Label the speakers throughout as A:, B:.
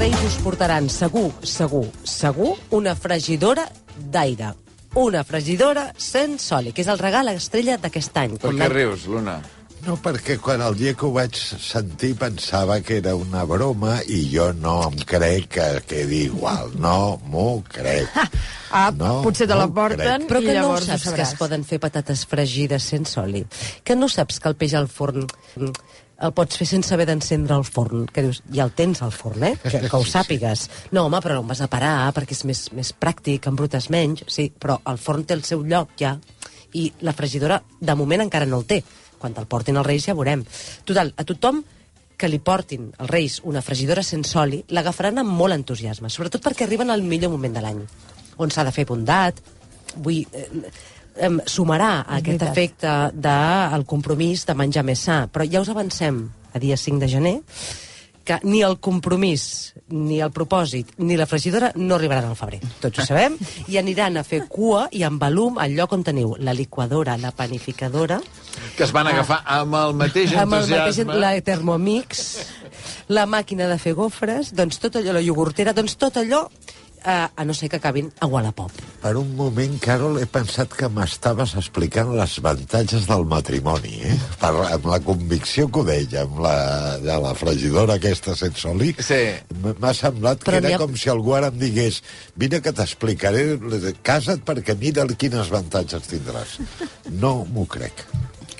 A: ells us portaran segur, segur, segur una fregidora d'aire. Una fregidora sense oli, que és el regal estrella d'aquest any.
B: Per
A: Com
B: què
A: l'any-
B: rius, Luna?
C: No, perquè quan el dia que ho vaig sentir pensava que era una broma i jo no em crec que quedi igual. No m'ho crec.
D: Ah, potser te la
C: m'ho
D: porten.
C: crec.
A: Però
D: I
A: que no ho
D: llavors ho
A: saps que
D: sabràs.
A: es poden fer patates fregides sense oli. Que no saps que el peix al forn mm, el pots fer sense haver d'encendre el forn. Que dius, ja el tens al forn, eh? Que, que ho sàpigues. No, home, però no em vas a parar perquè és més, més pràctic, embrutes menys. Sí, però el forn té el seu lloc ja i la fregidora de moment encara no el té. Quan te'l portin els Reis ja veurem. Total, a tothom que li portin els Reis una fregidora sense oli l'agafaran amb molt entusiasme, sobretot perquè arriben al millor moment de l'any, on s'ha de fer bondat, vull dir, eh, em sumarà a aquest
D: veritat.
A: efecte del compromís de menjar més sa. Però ja us avancem a dia 5 de gener que ni el compromís, ni el propòsit, ni la fregidora no arribaran al febrer. Tots ho sabem. I aniran a fer cua i amb volum al lloc on teniu la liquadora, la panificadora,
B: Que es van agafar amb el mateix
A: amb el mateix,
B: entusiasme.
A: la Thermomix, la màquina de fer gofres, doncs tot allò, la iogurtera, doncs tot allò, eh, a no ser que acabin a Wallapop.
C: Per un moment, Carol, he pensat que m'estaves explicant les avantatges del matrimoni, eh? Per, amb la convicció que ho deia, amb la, de la fregidora aquesta sense oli,
B: Sí.
C: m- m'ha semblat
A: Però
C: que
A: n'hi
C: era
A: ha-
C: com si algú ara em digués vine que t'explicaré, casa't perquè mira quines avantatges tindràs. No m'ho crec.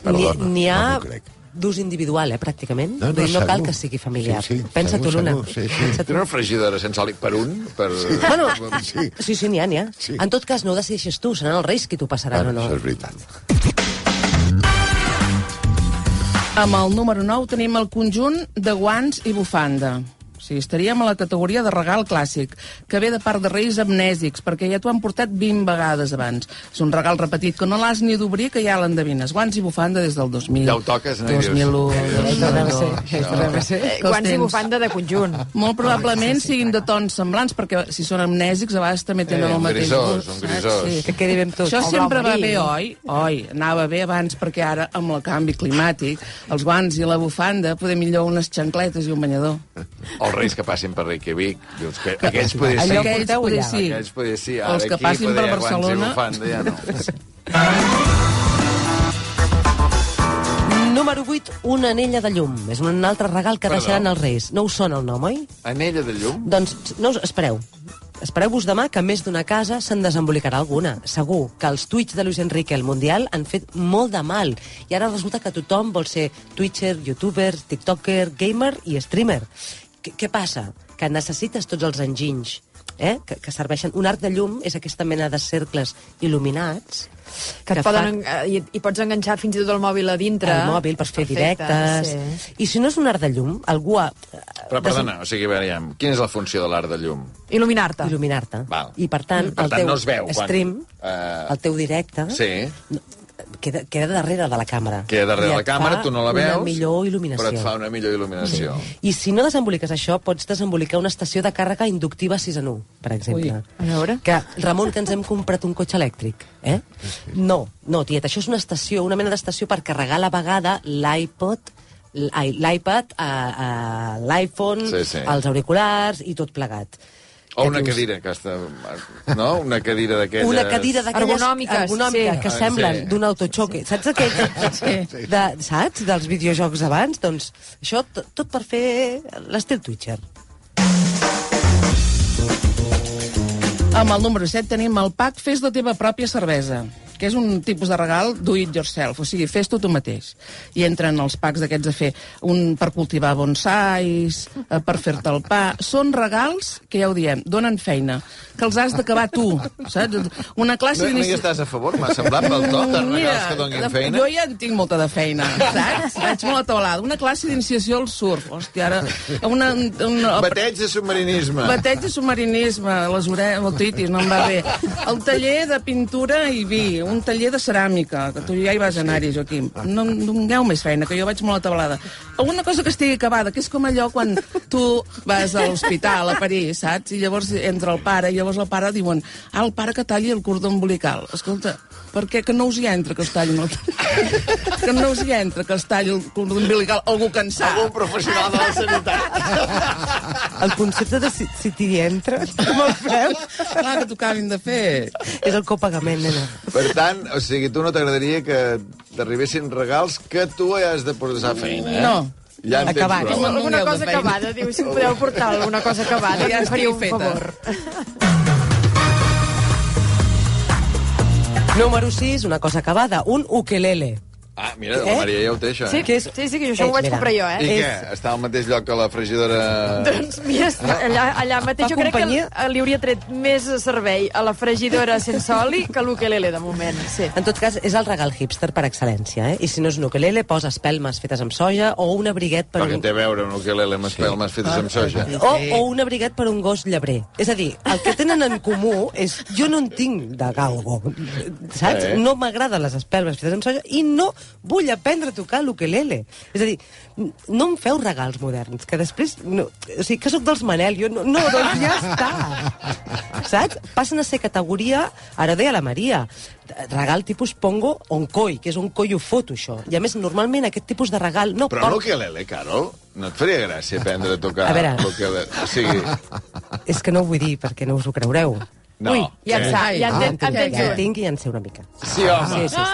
C: Perdona,
A: N'hi- n'hi ha
C: no m'ho crec.
A: d'ús individual, eh, pràcticament.
C: No, no,
A: Vull dir, no cal
C: segur.
A: que sigui familiar.
C: Sí, sí,
A: Pensa
C: segur,
A: tu, Luna.
C: segur, sí, sí.
A: Pensa tu.
B: Tenen una fregidora sense oli per un? Per...
A: Bueno,
C: Sí.
A: sí, sí, n'hi ha, n'hi ha.
C: Sí.
A: En tot cas, no ho decideixes tu, seran els reis qui t'ho passaran
C: Bueno,
A: o
C: això
A: no.
C: és veritat.
E: Amb el número 9 tenim el conjunt de guants i bufanda. O sigui, estaríem a la categoria de regal clàssic, que ve de part de reis amnèsics, perquè ja t'ho han portat 20 vegades abans. És un regal repetit que no l'has ni d'obrir, que ja l'endevines. Guants i bufanda des del 2000.
B: Ja ho toques, no? I dius,
E: 2001,
B: eh,
D: Eh,
E: 2002... Que els
D: Guants i
E: tens.
D: bufanda de conjunt.
E: Molt probablement siguin de tons semblants, perquè si són amnèsics, a vegades també
B: Eh,
E: tenen el
B: un
E: mateix
B: grisós,
E: gust.
B: un
E: saps?
B: grisós.
A: Que quedi ben tot.
E: Això
A: O
E: sempre
A: blau
E: va
A: marí.
E: bé, oi? Oi, anava bé abans, perquè ara, amb el canvi climàtic, els guants i la bufanda, poder millor unes xancletes i un banyador.
B: Els reis que passin per Reykjavik, doncs que, aquells poder sí.
E: Allò que
B: Aquells,
E: porteu
B: poder
E: allà.
B: sí. Aquells poder sí. Ara
E: Els que
B: aquí
E: passin
B: poder
E: per
B: hi ha guants i
E: Barcelona.
B: Bufanda, ja no.
A: Número 8, una anella de llum. És un altre regal que
B: Perdó.
A: deixaran els reis. No us sona el nom, oi?
B: Anella de llum?
A: Doncs no us espereu. Espereu-vos demà que més d'una casa se'n desembolicarà alguna. Segur que els tuits de Luis Enrique al Mundial han fet molt de mal. I ara resulta que tothom vol ser twitcher, youtuber, tiktoker, gamer i streamer. Qu què passa? Que necessites tots els enginys eh? que, que serveixen. Un arc de llum és aquesta mena de cercles il·luminats
D: Que, et poden, en- eh, i, i pots enganxar fins i tot el mòbil a dintre.
A: el mòbil per fer
D: Perfecte,
A: directes.
D: Sí.
A: I si no és un arc de llum, algú ha...
B: Però, perdona, o sigui, veiem, quina és la funció de l'art de llum?
D: Il·luminar-te.
A: il·luminar-te.
B: Val. Mm.
A: I per tant,
B: Per
A: el
B: tant,
A: teu
B: no es veu quan-
A: stream,
B: Eh,
A: el teu directe,
B: Sí.
A: no, queda, queda darrere de la càmera.
B: Queda darrere
A: I
B: la
A: et
B: càmera,
A: fa
B: tu no la veus...
A: Una millor il·luminació.
B: Però et fa una millor il·luminació. Sí.
A: I si no desemboliques això, pots desembolicar una estació de càrrega inductiva 6 en 1, per exemple.
D: A veure.
A: Que, Ramon, que ens hem comprat un cotxe elèctric, eh? No, no, tiet, això és una estació, una mena d'estació per carregar a la vegada l'iPod, l- ai, l'iPad, a- a l'iPhone,
B: Sí, sí.
A: els auriculars i tot plegat.
B: O
A: Que
B: una
A: dius,
B: cadira, aquesta, no? Una cadira d'aquelles...
A: Una cadira d'aquelles
D: Ergonòmiques,
A: ergonòmiques
D: sí.
A: que
B: Ah,
A: semblen
B: sí.
A: d'un autochoque. Saps aquell?
E: Sí.
A: De, saps? Dels videojocs abans? Doncs això t- tot per fer l'estil Twitcher.
E: Amb el número 7 tenim el pack Fes la teva pròpia cervesa que és un tipus de regal do it yourself, o sigui, fes-t'ho tu mateix. I entren els packs d'aquests a fer un per cultivar bonsais, eh, per fer-te el pa... Són regals que ja ho diem, donen feina, que els has d'acabar tu, saps? Una classe
B: No, no hi
E: d'inici-
B: estàs a favor? M'ha semblat pel tot, els regals que
E: de-
B: donin feina.
E: Jo ja en tinc molta de feina, saps? Vaig molt ataulada. Una classe d'iniciació al surf. Hòstia, ara... Una, una,
B: Ah, Bateig de submarinisme.
E: Bateig de submarinisme, les orelles, el titis, no em va bé. El taller de pintura i vi, un taller de ceràmica, que tu ja hi vas anar-hi, Joaquim. No em dongueu més feina, que jo vaig molt atabalada. Alguna cosa que estigui acabada, que és com allò quan tu vas a l'hospital, a París, saps? I llavors entra el pare, i llavors el pare diuen ah, el pare que talli el cordó umbilical. Escolta, per què que no us hi entra que us tallin el... que no us hi entra que els talli el cordó umbilical algú que en sap?
B: Un professional de la sanitat.
F: El concepte de si, si t'hi entres, com el preus,
E: Clar que t'ho acabin de fer.
F: és el copagament, nena.
B: Per tant, o sigui, tu no t'agradaria que t'arribessin regals que tu has de posar a feina, eh?
E: No.
B: Ja en tens
F: Acabat.
B: prou.
E: No
D: Alguna
E: n'hi ha de
D: cosa
E: feina.
D: acabada, diu, si em podeu portar alguna cosa acabada,
E: Ja
D: ja faria un
E: estigui feta.
D: favor.
A: Número 6, una cosa acabada, un ukelele.
B: Ah, mira, la
A: Eh?
B: Maria ja ho té, això.
D: Sí,
B: eh?
A: Què és?
D: sí, sí, que jo això
A: Eh,
D: ho vaig
A: mira.
D: comprar jo,
B: I
D: eh?
A: Eh,
B: què? Està al mateix lloc que la fregidora...
D: Doncs mira, allà, allà mateix
F: Fa
D: jo crec
F: companyia?
D: que li hauria tret més servei a la fregidora sense oli que a l'ukelele, de moment, sí.
A: En tot cas, és el regal hipster per excel·lència, eh? I si no és un ukelele, posa espelmes fetes amb soja o un abriguet per
B: Però que
A: un...
B: té a veure un ukelele amb espelmes fetes amb soja.
A: O, o un abriguet per un gos llebrer. És a dir, el que tenen en comú és jo no en tinc de galgo, saps?
B: Eh.
A: No m'agraden les espelmes fetes amb soja i no vull aprendre a tocar l'ukelele. És a dir, n- no em feu regals moderns, que després... No, o sigui, que sóc dels Manel, jo no, no doncs ja està. Saps? Passen a ser categoria, ara ho deia la Maria, regal tipus pongo oncoi, que és un coi ho foto, això. I a més, normalment aquest tipus de regal no
B: Però l'ukelele, Carol, no et faria gràcia aprendre a tocar
A: A veure.
B: l'ukelele? O sigui...
A: És que no ho vull dir perquè no us ho creureu.
B: No.
D: Ui, ja en
B: Eh?
D: sap, ja
A: Ah, en
D: en
A: tinc,
D: tens, en tens
A: ja en
D: un.
A: tinc i en sé una mica.
B: Sí, home.
A: Sí, sí, sí. sí,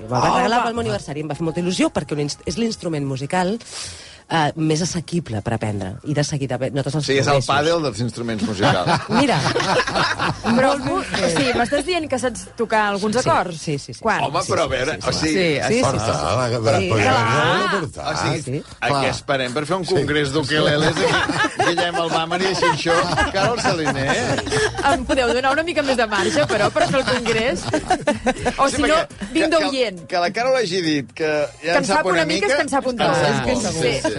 A: sí. Me'l va regalar pel meu aniversari, em va fer molta il·lusió, perquè un inst- és l'instrument musical eh, més assequible per aprendre. I de seguida ve- notes
B: O
A: els
B: sigui, és el
A: progressos.
B: pàdel dels instruments musicals.
A: Mira,
D: Però, o sigui, m'estàs dient que saps tocar alguns acords?
A: sí, sí, sí.
D: Quan?
B: Home, però a veure, o
E: Sí,
B: sigui...
E: sí, sí.
C: Porta, la, la,
A: Sí,
C: sí, la,
D: clar.
C: la,
B: O
E: Ah,
C: portar.
B: sigui,
A: sí.
B: a què esperem per fer un congrés d'ukeleles? Guillem Albà, Maria Xinxó, Carol Saliner...
D: Em podeu donar una mica més de marge, però, per fer el congrés? O si no,
B: perquè que-
D: vinc
B: que-
D: d'oient.
B: Que la Carol hagi dit que ja
D: Que en sap una mica, és que en sap un
B: en sap
D: tot.
E: Ah,
B: molt,
E: és
D: que
B: sí, sí.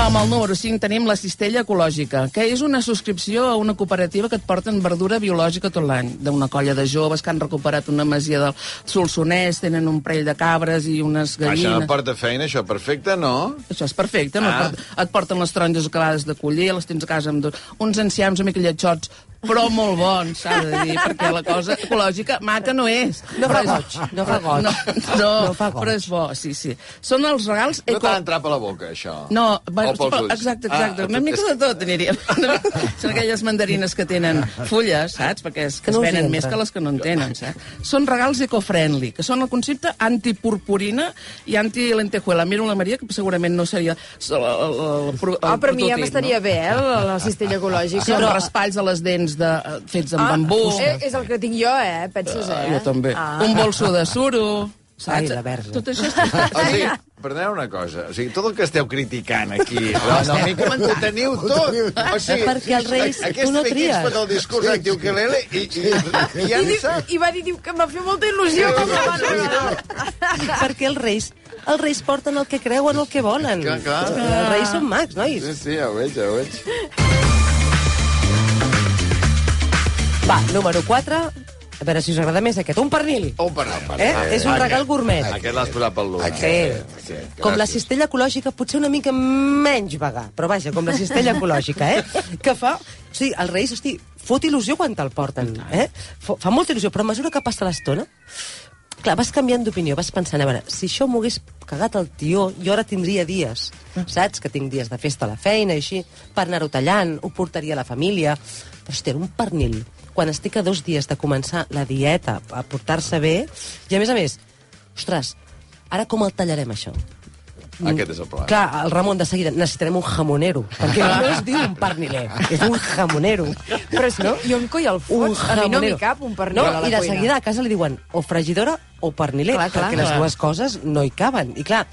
E: Amb el número 5 tenim la cistella ecològica, que és una subscripció a una cooperativa que et porten verdura biològica tot l'any, d'una colla de joves que han recuperat una masia del Solsonès, tenen un parell de cabres i unes
B: Això
E: gallines...
B: no porta feina, això, perfecte, no?
E: Això és perfecte, no?
B: Ah.
E: Et port- Et porten les taronges acabades de collir, les tens a casa amb dos, uns enciams una mica lletxots, però molt bons, s'ha de dir, perquè la cosa ecològica maca no és.
A: No fa
E: Però és-
A: goig, no fa goig.
E: No, no,
A: No fa goig.
E: però és bo, sí, sí. Són els regals
D: Eh,
B: No
E: eco...
B: t'ha d'entrar per la boca, això.
E: No,
B: O
E: bueno,
B: pels ulls.
E: exacte, exacte.
B: Ah,
E: Ah, una
B: tu-
E: mica
B: és-
E: de tot aniríem. Són aquelles mandarines que tenen fulles, saps? Perquè es,
A: Que
E: que
A: no
E: no
A: us
E: es venen
A: entra.
E: més que les que no en tenen, saps? Són regals eco-friendly, que són el concepte antipurpurina i antilentejuela. Miro la Maria, que segurament no seria el, el, el, pro- el
D: Ah, però a mi ja
E: prototip,
D: m'estaria bé, eh, la, la cistella ecològica.
E: Són
D: Però-
E: raspalls a les dents de, fets amb bambú.
D: Eh, és el que tinc jo, eh? Penses, eh?
E: Jo també.
D: Ah.
E: Un bolso de suro.
A: Ai,
E: Saps?
A: la verge.
E: Tot això és...
B: O sigui, perdoneu una cosa, o sigui, tot el que esteu criticant aquí, no, no, no, ho teniu tot. O sigui,
A: Perquè els Reis,
B: a- aquest
A: tu no
B: fake
A: tries.
B: expert del discurs actiu que l'ele i, i, i ja
D: I,
B: en
D: diu,
B: sap.
D: I va dir diu, que em va fer molta il·lusió com la van regalar.
A: perquè els reis, els reis porten el que creuen, el que volen.
B: Clar, clar.
A: Els reis són mags, nois.
B: Sí, sí, ja ho veig, ja ho veig.
A: Va, número 4, a veure si us agrada més aquest, un pernil.
B: On per anar?
A: Eh? És un regal gourmet.
B: Aquest l'has posat pel Luna.
A: Sí. Com la cistella ecològica, potser una mica menys vegà, però vaja, com la cistella ecològica, eh? Que fa... O sigui, els reis, hosti, fot il·lusió quan te'l porten, eh? Fa, fa molta il·lusió, però a mesura que passa l'estona... Clar, vas canviant d'opinió, vas pensant, a veure, si això m'ho hagués cagat el tió, jo ara tindria dies, saps? Que tinc dies de festa a la feina i així, per anar-ho tallant, ho portaria a la família... Però, hòstia, era un pernil. Quan estic a dos dies de començar la dieta, a portar-se bé, i a més a més, ostres, ara com el tallarem, això?
B: Aquest és el pla.
A: Mm. Clar, el Ramon de seguida necessitarem un jamonero, perquè no es diu un perniler, és un jamonero.
D: Però és que jo em coi el
A: Un
D: fot. A mi no m'hi
A: jamonero.
D: cap un pernil
A: no,
D: a la
A: I de
D: cuina.
A: seguida a casa li diuen o fregidora o perniler,
D: Clar, clar.
A: perquè les dues coses no hi caben. I clar,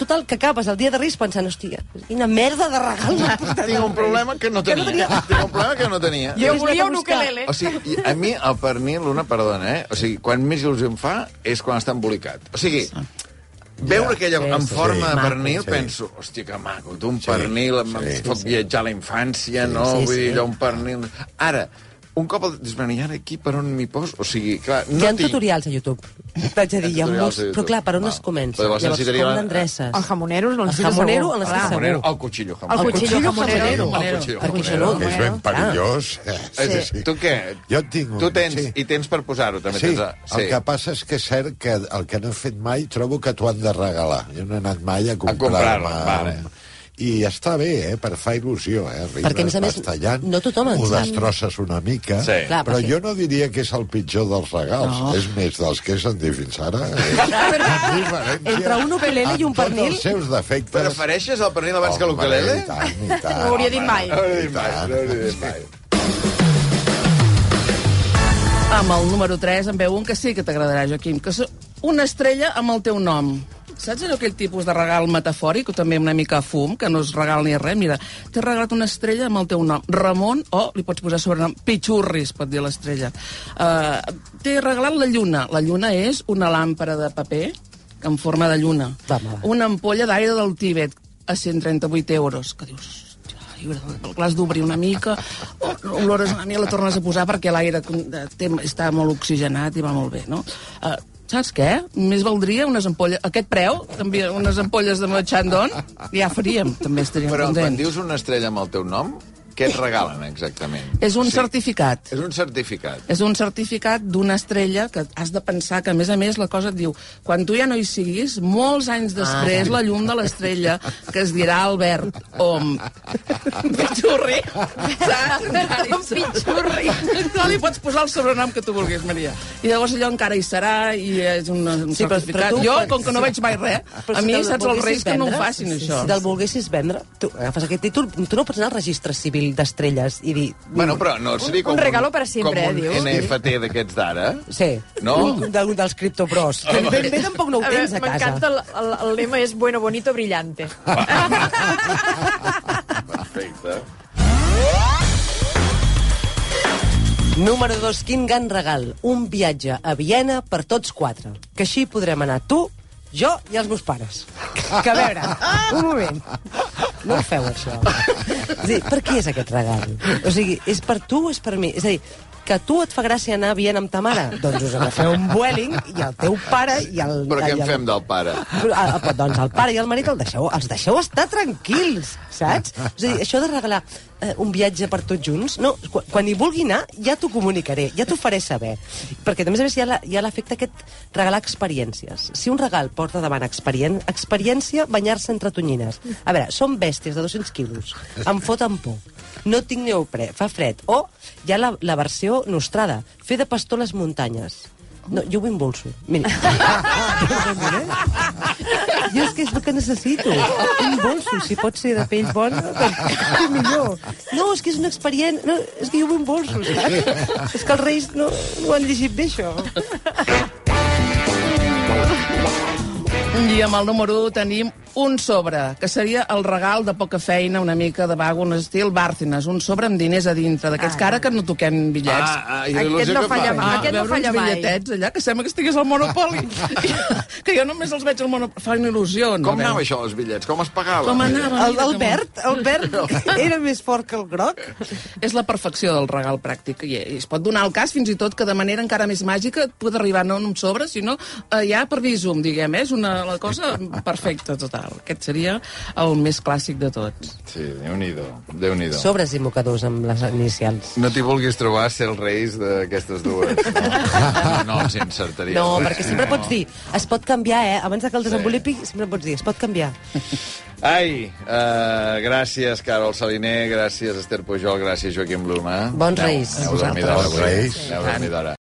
A: tot el que acabes el dia de Reis pensant, hòstia, quina merda de regal m'ha portat.
B: Tinc un problema que no tenia. Tinc un problema que no tenia.
D: Jo
A: Hauries anat a
D: volia un
A: buscar.
D: ukelele.
B: O sigui, i a mi el pernil, una, perdona, eh? O sigui, quan més il·lusió em fa és quan està embolicat. O sigui, veure aquella
A: Sí,
B: en
A: sí,
B: forma
A: sí.
B: de
A: Maco,
B: pernil,
C: sí.
B: penso, hòstia, que maco, tu un pernil em, em
C: sí,
B: fot viatjar a la infància, no?
A: sí,
B: Vull dir,
A: sí.
B: allò, un pernil... Ara, un cop el dius, bueno, i ara aquí per on m'hi poso? O sigui, clar, no
A: Hi ha
B: tinc...
A: tutorials a YouTube. T'haig de dir, hi ha
B: tutorials
A: molts,
B: a YouTube.
A: però clar, per on
B: Val.
A: es comença?
B: Però llavors
A: Llavors,
B: necessitaria-
A: com l'endreces?
D: El jamonero no
A: El
D: ens fica
A: jamonero
D: segur.
A: en les
D: Clar.
A: que
B: Jamonero, el cuchillo.
D: El cuchillo jamonero.
E: jamonero.
A: Perquè això no...
D: Jamonero.
C: És ben perillós. eh?
B: Sí. Eh, Tu què?
C: Jo en tinc un,
B: Tu tens,
C: sí.
B: i tens per posar-ho, també.
C: Sí,
B: tens a...
C: el que passa és que és cert que el que no he fet mai trobo que t'ho han de regalar. Jo no he anat mai a comprar-me.
B: comprar-lo, vale.
C: I està bé, eh? Per fa il·lusió, eh? Arribes
A: Perquè, a més a més,
C: bastallant,
A: no tothom en
C: ho
A: sap.
C: destrosses una mica,
B: Sí.
A: Clar,
C: però
A: perquè-
C: jo no diria que és el pitjor dels regals. No. És més, dels que he sentit fins ara.
F: Entre un ukelele i un
C: Amb
F: pernil.
C: tots els seus defectes...
B: Prefereixes el pernil abans que l'ukelele?
C: Home, I tant, i tant.
D: No ho hauria dit mai.
B: No hauria dit mai, no hauria dit mai.
E: Amb el número 3 en veu un que sí que t'agradarà, Joaquim, que és una estrella amb el teu nom. Saps allò, aquell tipus de regal metafòric, o també una mica fum, que no es regal ni res? Mira, t'he regalat una estrella amb el teu nom. Ramon, o li pots posar sobrenom, Pichurris, pot dir l'estrella. Uh, t'he regalat la lluna. La lluna és una làmpara de paper en forma de lluna.
A: Va, va, va.
E: Una ampolla d'aire del Tíbet a 138 euros. Que dius, "Hòstia, l'aire, l'has d'obrir una mica, o- olores una mica, la tornes a posar perquè l'aire con- eh, té- està molt oxigenat i va molt bé, no? Uh, saps què? Més valdria unes ampolles... Aquest preu, també unes ampolles de Chandon, ja faríem, també estaríem
B: Però quan
E: contents.
B: dius una estrella amb el teu nom, què et regalen exactament?
E: És un
B: O
E: sí.
B: sigui,
E: certificat.
B: És un certificat.
E: És un certificat d'una estrella que has de pensar que, a més a més, la cosa et diu quan tu ja no hi siguis, molts anys
A: Ah,
E: després, la llum de l'estrella, que es dirà Albert Om. Pitxurri.
D: Om
E: Saps? Pitxurri. No li pots posar el sobrenom que tu vulguis, Maria. I llavors allò encara hi serà i és un, un
A: Sí, però- però
E: certificat.
A: tu-
E: jo, com que no veig mai res, a mi
A: te'l
E: saps els
A: volguessis
E: reis que no
A: vendre,
E: ho facin, això.
A: Si te'l volguessis vendre, tu agafes aquest títol, tu no pots anar al registre civil d'estrelles i dir...
B: Bueno, però no seria com
D: un regalo para siempre,
B: com un
D: eh, dius?
B: NFT d'aquests d'ara.
A: Sí,
B: No?
A: un d'un dels criptobros. Que ben bé tampoc no ho
D: A veure,
A: tens a casa.
D: M'encanta, el, el, el lema és bueno, bonito, brillante.
B: Perfecte.
A: Número 2, quin gran regal. Un viatge a Viena per tots quatre. Que així podrem anar tu, jo i els meus pares. Que a veure, un moment. No ho feu, això. És a dir, per qui és aquest regal? O sigui, és per tu o és per mi? És a dir, que a tu et fa gràcia anar a Viena amb ta mare? Doncs us agafeu un Vueling i el teu pare i el...
B: Però què
A: i
B: en
A: el-
B: fem del pare?
A: Però, ah, ah, doncs el pare i el marit el deixeu, els deixeu estar tranquils, saps? És a dir, això de regalar eh, un viatge per tots junts, no, quan, quan hi vulgui anar ja t'ho comunicaré, ja t'ho faré saber. Perquè, a més a més, hi ha la- hi ha l'efecte aquest regalar experiències. Si un regal porta davant experien, experiència, banyar-se entre tonyines. A veure, són bèsties de 200 quilos, em foten por, no tinc neoprè, fa fred, o hi ha la, la versió nostrada, fer de pastor a les muntanyes. No, jo ho impulso. Mira. Jo és que és el que necessito. Un bolso, si pot ser de pell bona, doncs millor. No, és que és una experiència... No, és que jo vull un bolso, saps? És que els reis no, no ho han llegit bé, això.
E: I amb el número 1 tenim un sobre, que seria el regal de poca feina, una mica de vago, un estil Bárcenas, un sobre amb diners a dintre, d'aquests que ara que no toquem bitllets.
B: Ah, ah, i la
D: Aquest
B: il·lusió
D: no
B: que
D: falla
B: fa.
D: mai. Ah. Aquest no
E: veure
D: falla
E: uns
D: mai.
E: bitlletets allà, que sembla que estigués al Monopoli. que jo només els veig al Monopoli. Fa una il·lusió. No
B: Com
E: Veu?
B: anava això, els bitllets? Com es pagava?
E: Com anava?
F: El,
E: mira,
F: el
E: com-
F: verd, el verd era més fort que el groc.
E: És la perfecció del regal pràctic. I i es pot donar el cas, fins i tot, que de manera encara més màgica et pot arribar no en un sobre, sinó eh, ja per visum, diguem. eh? És una la cosa perfecta, total. Aquest seria el més clàssic de tots.
B: Sí, Déu-n'hi-do. déu nhi déu
A: Sobres i mocadors amb les inicials.
B: No t'hi vulguis trobar ser els reis d'aquestes dues. No, no els encertaries.
A: No,
B: res.
A: perquè sempre pots dir, es pot canviar, eh? Abans de que el desenvolupi, sempre pots dir, es pot canviar.
B: Ai, uh, gràcies, Carol Saliner, gràcies, Esther Pujol, gràcies, Joaquim Bluma.
A: Bons Reis.
B: Aneu a dormir d'hora.
C: Bons
B: avui.
C: Reis.
B: Aneu a dormir d'hora.